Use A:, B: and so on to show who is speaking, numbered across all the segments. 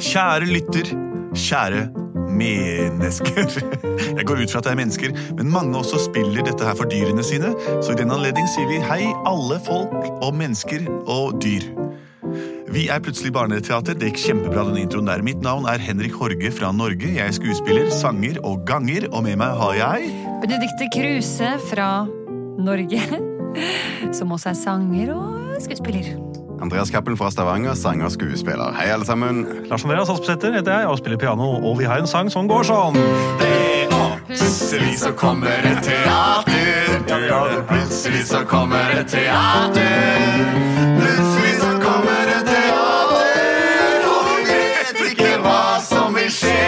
A: Kjære lytter, kjære mennesker. Jeg går ut fra at det er mennesker, men mange også spiller dette her for dyrene sine, så i den anledning sier vi hei alle folk og mennesker og dyr. Vi er plutselig barneteater. Det gikk kjempebra, den introen der. Mitt navn er Henrik Horge fra Norge. Jeg er skuespiller, sanger og ganger, og med meg har jeg
B: Benedicte Kruse fra Norge, som også er sanger og skuespiller.
C: Andreas Cappelen fra Stavanger, sanger og skuespiller. Hei, alle sammen.
D: Lars Andreas Aspesæter heter jeg og spiller piano, og vi har en sang som går sånn.
C: Plutselig så kommer et teater. Ja, ja, Plutselig så kommer et teater. Plutselig så kommer et teater, og vi vet ikke hva som vil skje.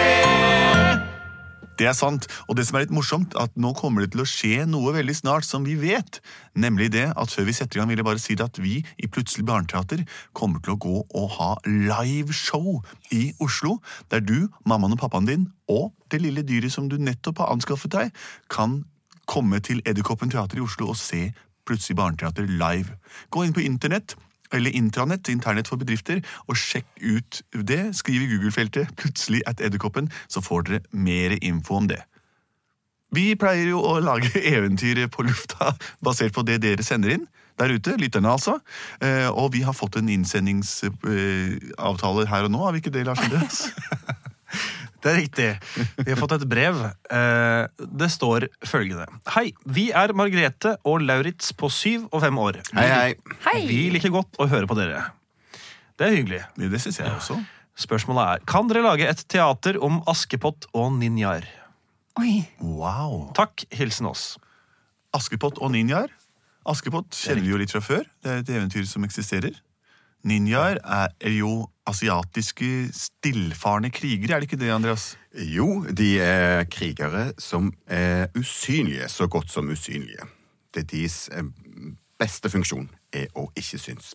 A: Det er sant, og det som er litt morsomt, at nå kommer det til å skje noe veldig snart som vi vet, nemlig det at før vi setter i gang, vil jeg bare si det at vi i Plutselig barneteater kommer til å gå og ha liveshow i Oslo, der du, mammaen og pappaen din, og det lille dyret som du nettopp har anskaffet deg, kan komme til Edderkoppen teater i Oslo og se Plutselig barneteater live. Gå inn på internett, eller intranett, internett for bedrifter, og sjekk ut det. Skriv i Google-feltet 'plutselig at Edderkoppen', så får dere mer info om det. Vi pleier jo å lage eventyr på lufta basert på det dere sender inn der ute, lytterne altså. Eh, Og vi har fått en innsendingsavtale her og nå, har vi ikke det, Lars Andreas?
D: Det er riktig. Vi har fått et brev. Eh, Det står følgende. Hei, vi er Margrethe og Lauritz på syv og fem år.
C: Hei, hei.
B: Hei!
D: Vi liker godt å høre på dere. Det er hyggelig.
A: Ja, Det syns jeg også.
D: Spørsmålet er, kan dere lage et teater om Askepott og ninjaer?
B: Oi,
A: Wow.
D: Takk, hilsen oss.
A: Askepott og ninjaer. Askepott kjenner vi jo litt fra før. Det er et eventyr som eksisterer. Ninjaer er jo asiatiske stillfarne krigere, er det ikke det, Andreas?
C: Jo, de er krigere som er usynlige, så godt som usynlige. Det er deres eh, beste funksjon er å ikke synes.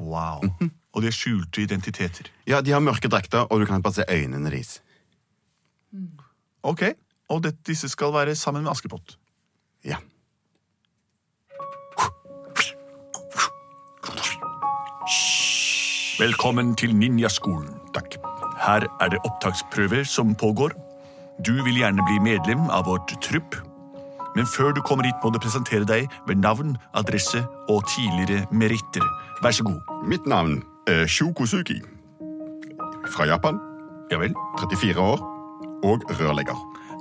A: Wow. Og de er skjulte identiteter.
C: Ja, de har mørke drakter, og du kan bare se øynene deres.
A: Ok, Og det, disse skal være sammen med Askepott.
C: Ja.
A: Velkommen til ninjaskolen. Takk. Her er det opptaksprøver som pågår. Du vil gjerne bli medlem av vårt trupp. Men før du kommer hit, må du presentere deg ved navn, adresse og tidligere meritter. Vær så god.
C: Mitt navn er Shukosuki. Fra Japan.
A: Ja vel.
C: 34 år. Og rørlegger.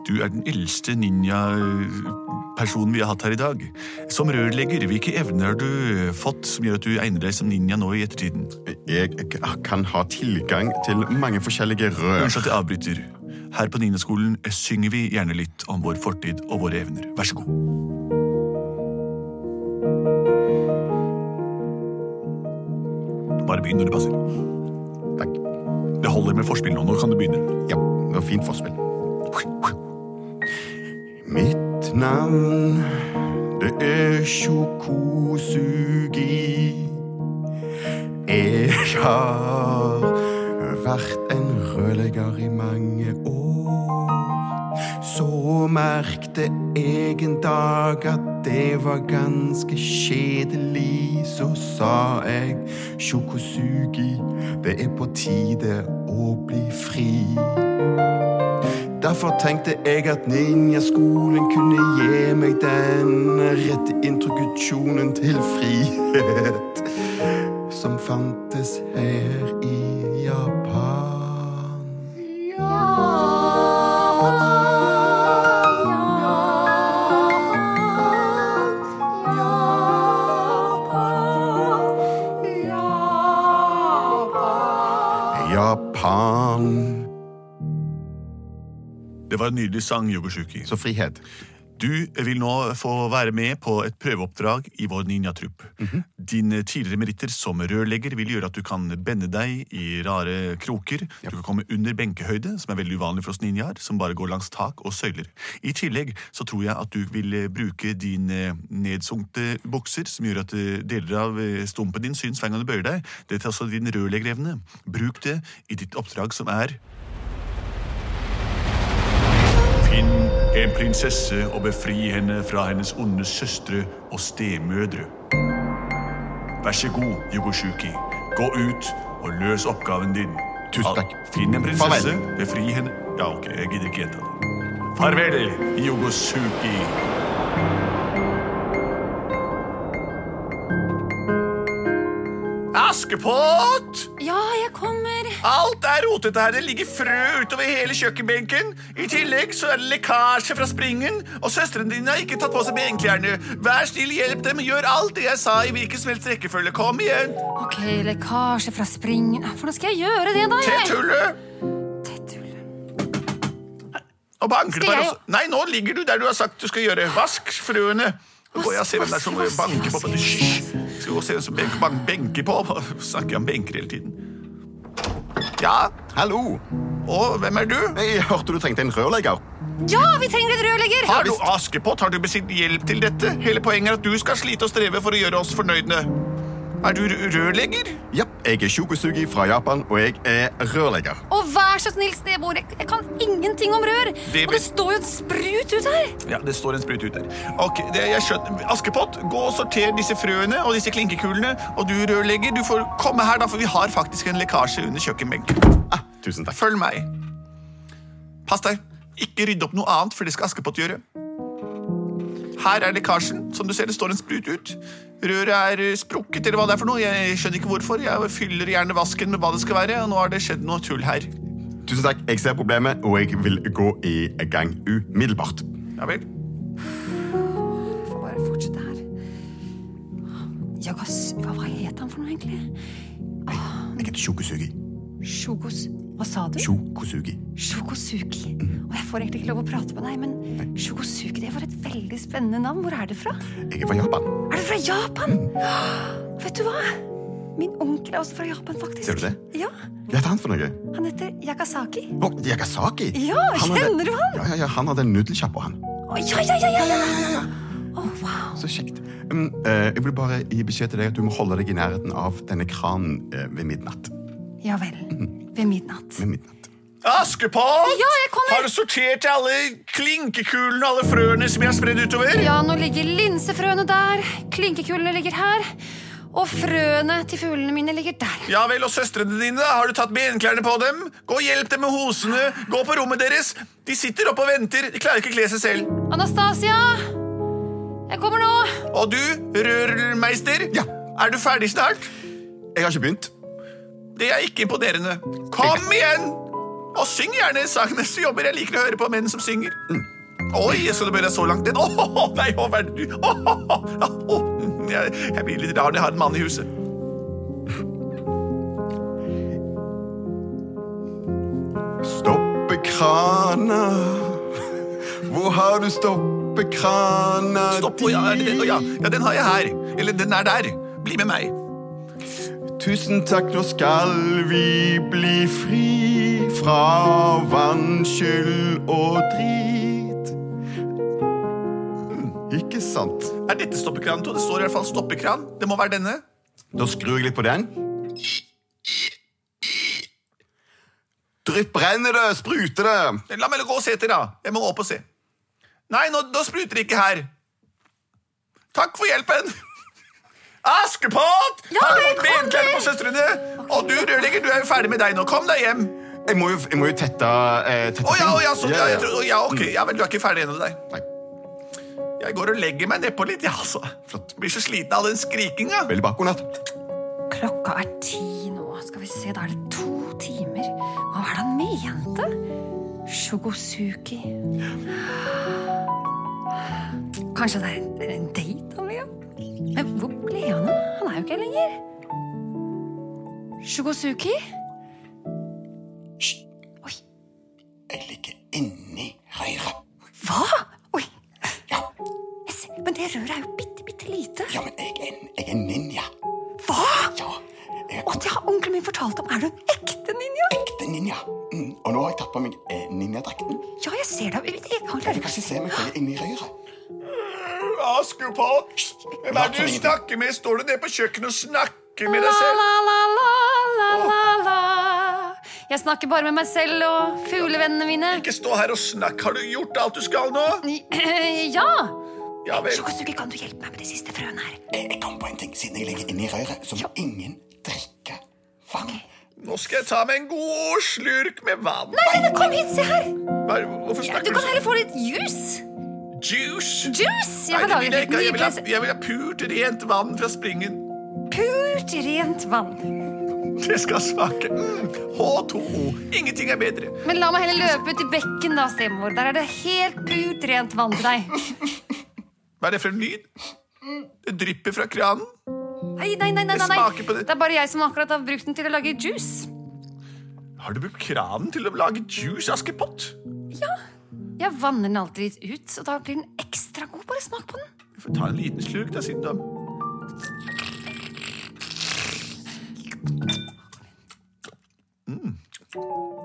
A: Du er den eldste ninja-personen vi har hatt her i dag. Som rørlegger, hvilke evner har du eh, fått som gjør at du egner deg som ninja nå i ettertiden?
C: Jeg k- kan ha tilgang til mange forskjellige rør.
A: Unnskyld at jeg avbryter. Her på Ninaskolen synger vi gjerne litt om vår fortid og våre evner. Vær så god. Bare begynn når det passer.
C: Takk.
A: Det holder med forspill nå. Nå kan du begynne.
C: Ja, det var fint forspill. Mitt navn det er Shokosugi. Jeg har vært en rødlegger i mange år. Så merkte jeg en dag at det var ganske kjedelig. Så sa jeg Shokosugi, det er på tide å bli fri. Derfor tenkte jeg at ninjaskolen kunne gi meg den rette introduksjonen til frihet som fantes her i Japan. Japan.
A: Det var en nydelig sang, Yogoshuki.
C: Så frihet.
A: Du vil nå få være med på et prøveoppdrag i vår ninjatrupp. Dine tidligere meritter som rørlegger vil gjøre at du kan bende deg i rare kroker. Du kan komme under benkehøyde, som er veldig uvanlig for oss ninjaer, som bare går langs tak og søyler. I tillegg så tror jeg at du vil eh, bruke dine nedsunkte bukser, som gjør at eh, deler av eh, stumpen din syns hver gang du bøyer deg. Det er altså din rørleggerevne. Bruk det i ditt oppdrag som er Finn en prinsesse og befri henne fra hennes onde søstre og stemødre. Vær så god, Yogoshuki. Gå ut og løs oppgaven din.
C: Tusen takk.
A: Finn en prinsesse,
C: Farvel.
A: befri henne Ja, ok, jeg gidder ikke gjenta det. Farvel, Yogosuki. Askepott!
B: Ja, jeg kommer.
A: Alt er rotete her. Det ligger frø utover hele kjøkkenbenken. I tillegg så er det lekkasje fra springen, og søstrene dine har ikke tatt på seg benklærne. Vær snill, hjelp dem. Gjør alt det jeg sa i hvilken som helst rekkefølge. Kom igjen.
B: Ok, lekkasje fra springen. Hvordan skal jeg gjøre det, da?
A: Tett
B: jeg?
A: hullet.
B: Tettull.
A: Og banker
B: Skal
A: bare
B: jeg-
A: også. Nei, nå ligger du der du har sagt du skal gjøre. Vask frøene. Nå går jeg og ser hvem det er som
B: Vask, vask,
A: banker på.
B: vask,
A: Hysj! Skal gå og se hvem som benker, bank, benker på. Snakker jeg om benker hele tiden. Ja,
C: Hallo.
A: og hvem er du?
C: Jeg hørte du trengte en rørlegger.
B: Ja, vi trenger en rørlegger!
A: Har du Askepott, har du bestilt hjelp til dette? Hele poenget er at du skal slite og streve for å gjøre oss fornøyde. Er du r- rørlegger?
C: Ja, jeg er Shugosugi fra Japan, og jeg er rørlegger.
B: Og vær så snill, snebror, jeg, jeg kan ingenting om rør!
A: Det vet-
B: og det står jo en sprut ut her!
A: Ja, det står en sprut ut der. Ok, det, jeg skjønner. Askepott, gå og sorter disse frøene og disse klinkekulene. Og du, rørlegger, du får komme her, da, for vi har faktisk en lekkasje under kjøkkenbenken.
C: Ah, tusen takk.
A: Følg meg. Pass deg. Ikke rydd opp noe annet, for det skal Askepott gjøre. Her er lekkasjen. Som du ser, det står en sprut ut. Røret er eh, sprukket, eller hva det er for noe. Jeg skjønner ikke hvorfor. Jeg fyller gjerne vasken med hva det skal være, og nå har det skjedd noe tull her.
C: Tusen takk, Jeg ser problemet, og jeg vil gå i gang umiddelbart.
A: Ja vel.
B: Vi får bare fortsette her. Jagas, hva, hva het han for noe, egentlig?
C: Jeg heter Shugosugi.
B: Sjogos Hva sa du?
C: Shugosugi.
B: Sjokosuki.
C: Mm.
B: Og jeg får egentlig ikke lov å prate med deg, men Sjokosuki, det var et veldig spennende navn. Hvor er det fra?
C: Jeg er fra Japan.
B: Er det fra Japan? Vet du hva? Min onkel er også fra Japan, faktisk.
C: Mm. Ser du det?
B: Ja,
C: Hva heter han for noe?
B: Han heter Yakasaki.
C: Å, Yakasaki.
B: Ja, kjenner du han?
C: Ja, ja, ja, Han hadde en nudelsjappa, han.
B: Å, ja, ja, ja, ja, ja! Å, wow.
C: Så kjekt. Um, eh, jeg vil bare gi beskjed til deg at du må holde deg i nærheten av denne kranen eh, ved midnatt.
B: Ja vel.
C: Mm.
B: Ved midnatt.
C: Ved midnatt.
A: Askepott!
B: Ja, jeg kommer.
A: Har du sortert alle klinkekulene og alle frøene som jeg har spredd
C: Mm.
A: utover?
B: Ja, nå ligger linsefrøene der, klinkekulene ligger her, og frøene til fuglene mine ligger der.
A: Ja vel, og søstrene dine, da? Har du tatt benklærne på dem? Gå og hjelp dem med hosene. Gå på rommet deres. De sitter oppe og venter. De klarer ikke å kle seg selv.
B: Anastasia! Jeg kommer nå!
A: Og du, rørmeister,
C: Ja.
A: er du ferdig snart?
C: Jeg har ikke begynt.
A: Det er ikke imponerende. Kom igjen! Og syng gjerne sangenes jobber. Jeg liker å høre på menn som synger. Oi, så du bør jeg så langt ned? Åh, nei, åh, hva er det du? Åh, åh, åh. Jeg, jeg blir litt rar når jeg har en mann i huset.
C: Stoppekrana. Hvor har du stoppekrana
A: Stopp, å, ja, er det den? Å, ja. ja, den har jeg her. Eller den er der. Bli med meg.
C: Tusen takk, nå skal vi bli fri fra vannskyld og drit. Mm, Ikke sant?
A: Er dette stoppekran, Tor? Det står i hvert fall stoppekran. Det må være denne.
C: Da skrur jeg litt på den. Drypp brenner det, spruter det.
A: La meg gå og se etter, da. Jeg må opp og se. Nei, nå, nå spruter det ikke her. Takk for hjelpen. Askepott!
B: Ja,
A: Har du
B: jeg
A: fått
B: kommer.
A: benklærne på søstrene? Og du, rørlegger, du er jo ferdig med deg nå. Kom deg hjem.
C: Jeg må jo, jeg må jo tette, eh, tette
A: Å ja,
C: ting.
A: å ja, sånn.
C: Ja,
A: Ja,
C: ja.
A: jeg tror, å, ja, ok. Ja, men du er ikke ferdig ennå, deg.
C: Nei,
A: Jeg går og legger meg nedpå litt, jeg, ja, altså.
C: Flott.
A: Blir så sliten av den skrikinga.
C: veldig bakgrunnert.
B: Klokka er ti nå. Skal vi se, da er det to timer. Hva var det han mente? Shogosuki Kanskje det er en date han vil ha? Men hvor ble han av? Han er jo ikke her lenger. Shogosuki? Oi,
C: Jeg ligger inni røret.
B: hva? Oi! Jeg ser- Men det røret er jo bitte, bitte lite.
C: Ja, men jeg er, en- jeg er ninja.
B: Hva?
C: Ja, jeg
B: Og det har onkelen min fortalt om. Er du en ekte ninja?
C: ekte ninja. Mm. Og nå har jeg tatt på meg eh, ninjadrakten.
B: Ja, jeg ser deg. Jeg jeg kan
C: Du
B: klare
C: kan
B: ikke
C: ikke se meg, for jeg er inni røret.
A: Askepott! Hvem er det du snakker med? Står du nede på kjøkkenet og snakker med deg
B: La,
A: selv?
B: la, la, la, la, la, la. Jeg snakker bare med meg selv og fuglevennene mine.
A: Ikke stå her og snakk. Har du gjort alt du skal nå?
B: Ja!
A: Ja vel.
B: Sjokosuke, kan du hjelpe meg med de siste
C: Eh,
B: frøene her?
C: Jeg, jeg kom på en ting siden jeg ligger inni røret, så må ingen drikke vann
A: Nå skal jeg ta meg en god slurk med vann.
B: Nei, kom hit, se her!
A: Hva er- Hvorfor
B: Ja,
A: snakker
B: du
A: du
B: kan
A: sånn?
B: heller få litt juice.
A: Juice! Nei,
B: Juice!
A: det vil
B: Jeg beklager.
A: jeg ikke. Jeg vil, ha,
B: Nydelig.
A: jeg vil ha purt, rent vann fra springen.
B: Purt rent vann.
A: Det skal smake mm, H2O. Ingenting er bedre.
B: Men la meg heller løpe ut i bekken, da, stemor. Der er det helt purt rent vann til deg.
A: Hva er det for en lyd?
B: Mm.
A: Det drypper fra kranen.
B: Nei, nei, nei, nei,
A: Det
B: nei.
A: smaker på det.
B: Det er bare jeg som akkurat har brukt den til å lage juice.
A: Har du brukt kranen til å lage juice, Askepott?
B: Jeg vanner den alltid litt ut, og da blir den ekstra god. Bare smak på den.
A: Vi får ta en liten slurk, da, siden du Mm.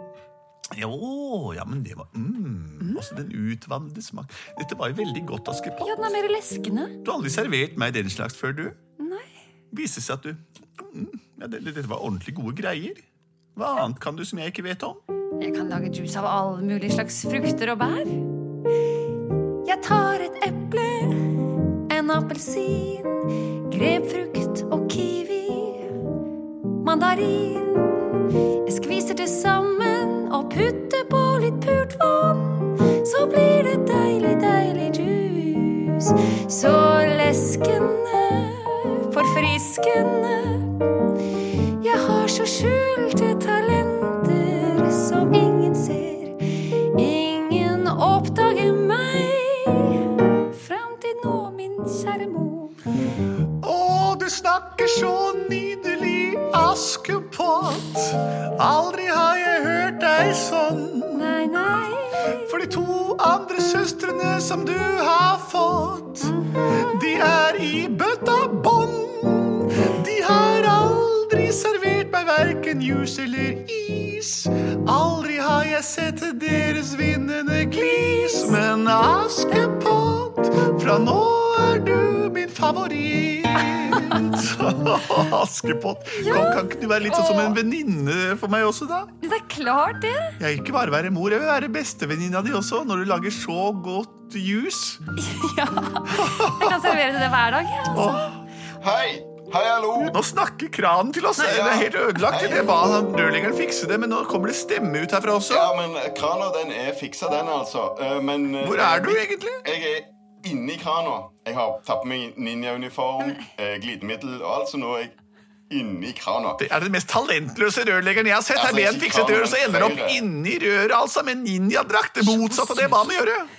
A: Jo, ja, men det var mm. Altså, den utvannede smak. Dette var jo veldig godt, Askepott.
B: Ja, den er mer leskende.
A: Du har aldri servert meg den slags før, du.
B: Nei.
A: Viser seg at du mm, ja, det, Dette var ordentlig gode greier. Hva annet kan du som jeg ikke vet om?
B: Jeg kan lage juice av alle mulige slags frukter og bær. Jeg tar et eple, en appelsin, grepfrukt og kiwi, mandarin. Jeg skviser det sammen og putter på litt purt vann. Så blir det deilig, deilig juice. Så leskende, forfriskende. Jeg har så skjulte talenter som ingen ser. Ingen oppdager meg. Fram til nå, min kjære mor.
A: Å, du snakker så nydelig, Askepott. Aldri har jeg hørt deg sånn.
B: Nei, nei.
A: For de to andre søstrene som du har fått, de er i bøtta bånn. De har aldri servert meg verken juice eller is. Aldri har jeg sett deres vinnende glis. Men Askepott, fra nå er du min favoritt. Askepott, kan, kan ikke du være litt sånn som en venninne for meg også, da?
B: Det er klart, det.
A: Jeg vil ikke bare være mor, jeg vil være bestevenninna di også, når du lager så godt juice.
B: Ja. Jeg kan servere til det hver dag. jeg, Altså.
C: Hei! Hei, hallo!
A: Nå snakker kranen til oss! det er helt ødelagt. Jeg ba han rørleggeren fikse det, men nå kommer det stemme ut herfra også.
C: Ja, men eh, krana, den er fiksa, den, altså. Eh, Men eh,
A: Hvor er du egentlig?
C: Jeg er inni krana. Jeg har tatt på meg ninjauniform, eh, glidemiddel og alt, så nå er jeg inni krana.
A: Det er den mest talentløse rørleggeren jeg har sett. Her
C: Altså,
A: ber han
C: ikke
A: fikse et rør, og så ender det opp
C: kranen,
A: inni røret, altså, med ninjadrakt. Det motsatte av det jeg ba han gjøre.
C: Eh,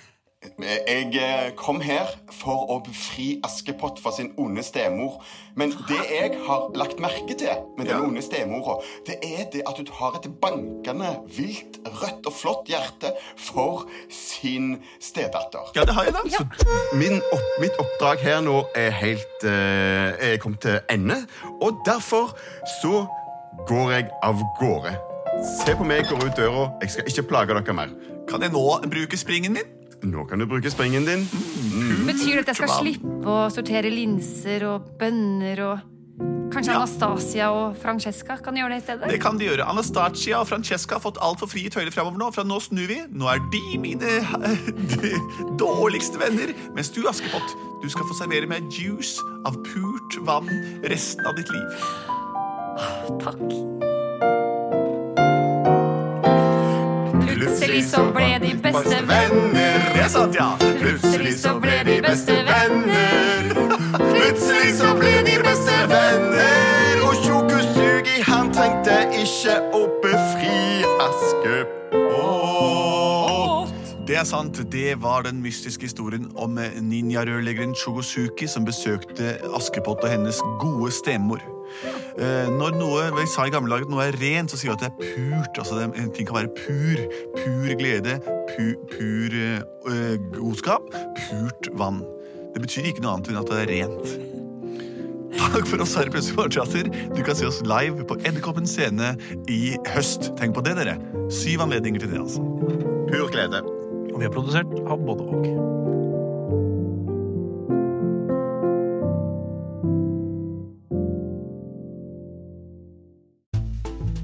C: Jeg eh, kom her for å befri Askepott fra sin onde stemor. Men det jeg har lagt merke til med den
A: Ja.
C: onde stemora, det er det at hun har et bankende, vilt, rødt og flott hjerte for sin stedatter.
A: Ja, det har jeg, da. Så
E: Min opp, mitt oppdrag her nå er helt eh, Er kommet til ende. Og derfor så går jeg av gårde. Se på meg, går ut døra. Jeg skal ikke plage dere mer.
A: kan jeg nå bruke springen min?
E: Nå kan du bruke springen din.
B: Betyr det at jeg skal
A: Kebab.
B: slippe å sortere linser og bønner og Kanskje Anastasia og Francesca kan gjøre det i stedet?
A: Det kan de gjøre. Anastacia og Francesca har fått altfor frie tøyler fremover nå. Fra nå snur vi. Nå er de mine de dårligste venner. Mens du, Askepott, du skal få servere meg juice av purt vann resten av ditt liv.
B: Takk. Plutselig så ble de beste venner.
A: Det er sant, ja.
B: Plutselig så ble de beste venner.
E: Plutselig så ble de beste venner, og Tjokosugi han trengte ikke å befri Askepott.
A: Det er sant. Det var den mystiske historien om eh, ninjarørleggeren Chogosuki som besøkte Askepott og hennes gode stemor. Eh, Når noe vi sa i gamle dager at noe er rent, så sier vi at det er purt. Altså det, en ting kan være pur. Pur glede, pu, pur eh, eh, godskap, purt vann. Det betyr ikke noe annet enn at det er rent. Takk for oss her i Plutselig barneteater. Du kan se oss live på Edderkoppen scene i høst. Tenk på det, dere. Syv anledninger til det, altså.
E: Pur glede.
D: Og vi har produsert av både og.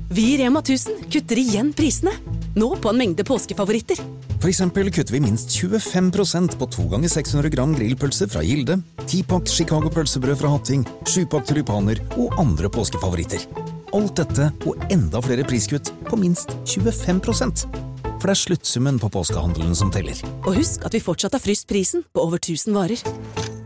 F: Vi i Rema 1000 kutter igjen prisene. Nå på en mengde påskefavoritter.
G: For eksempel kutter vi minst 25 på 2 ganger 600 gram grillpølse fra Gilde, 10-pakk Chicago pølsebrød fra Hatting, 7-pakk tulipaner og andre påskefavoritter. Alt dette og enda flere priskutt på minst 25 For det er sluttsummen på påskehandelen som teller.
F: Og husk at vi fortsatt har fryst prisen på over 1000 varer.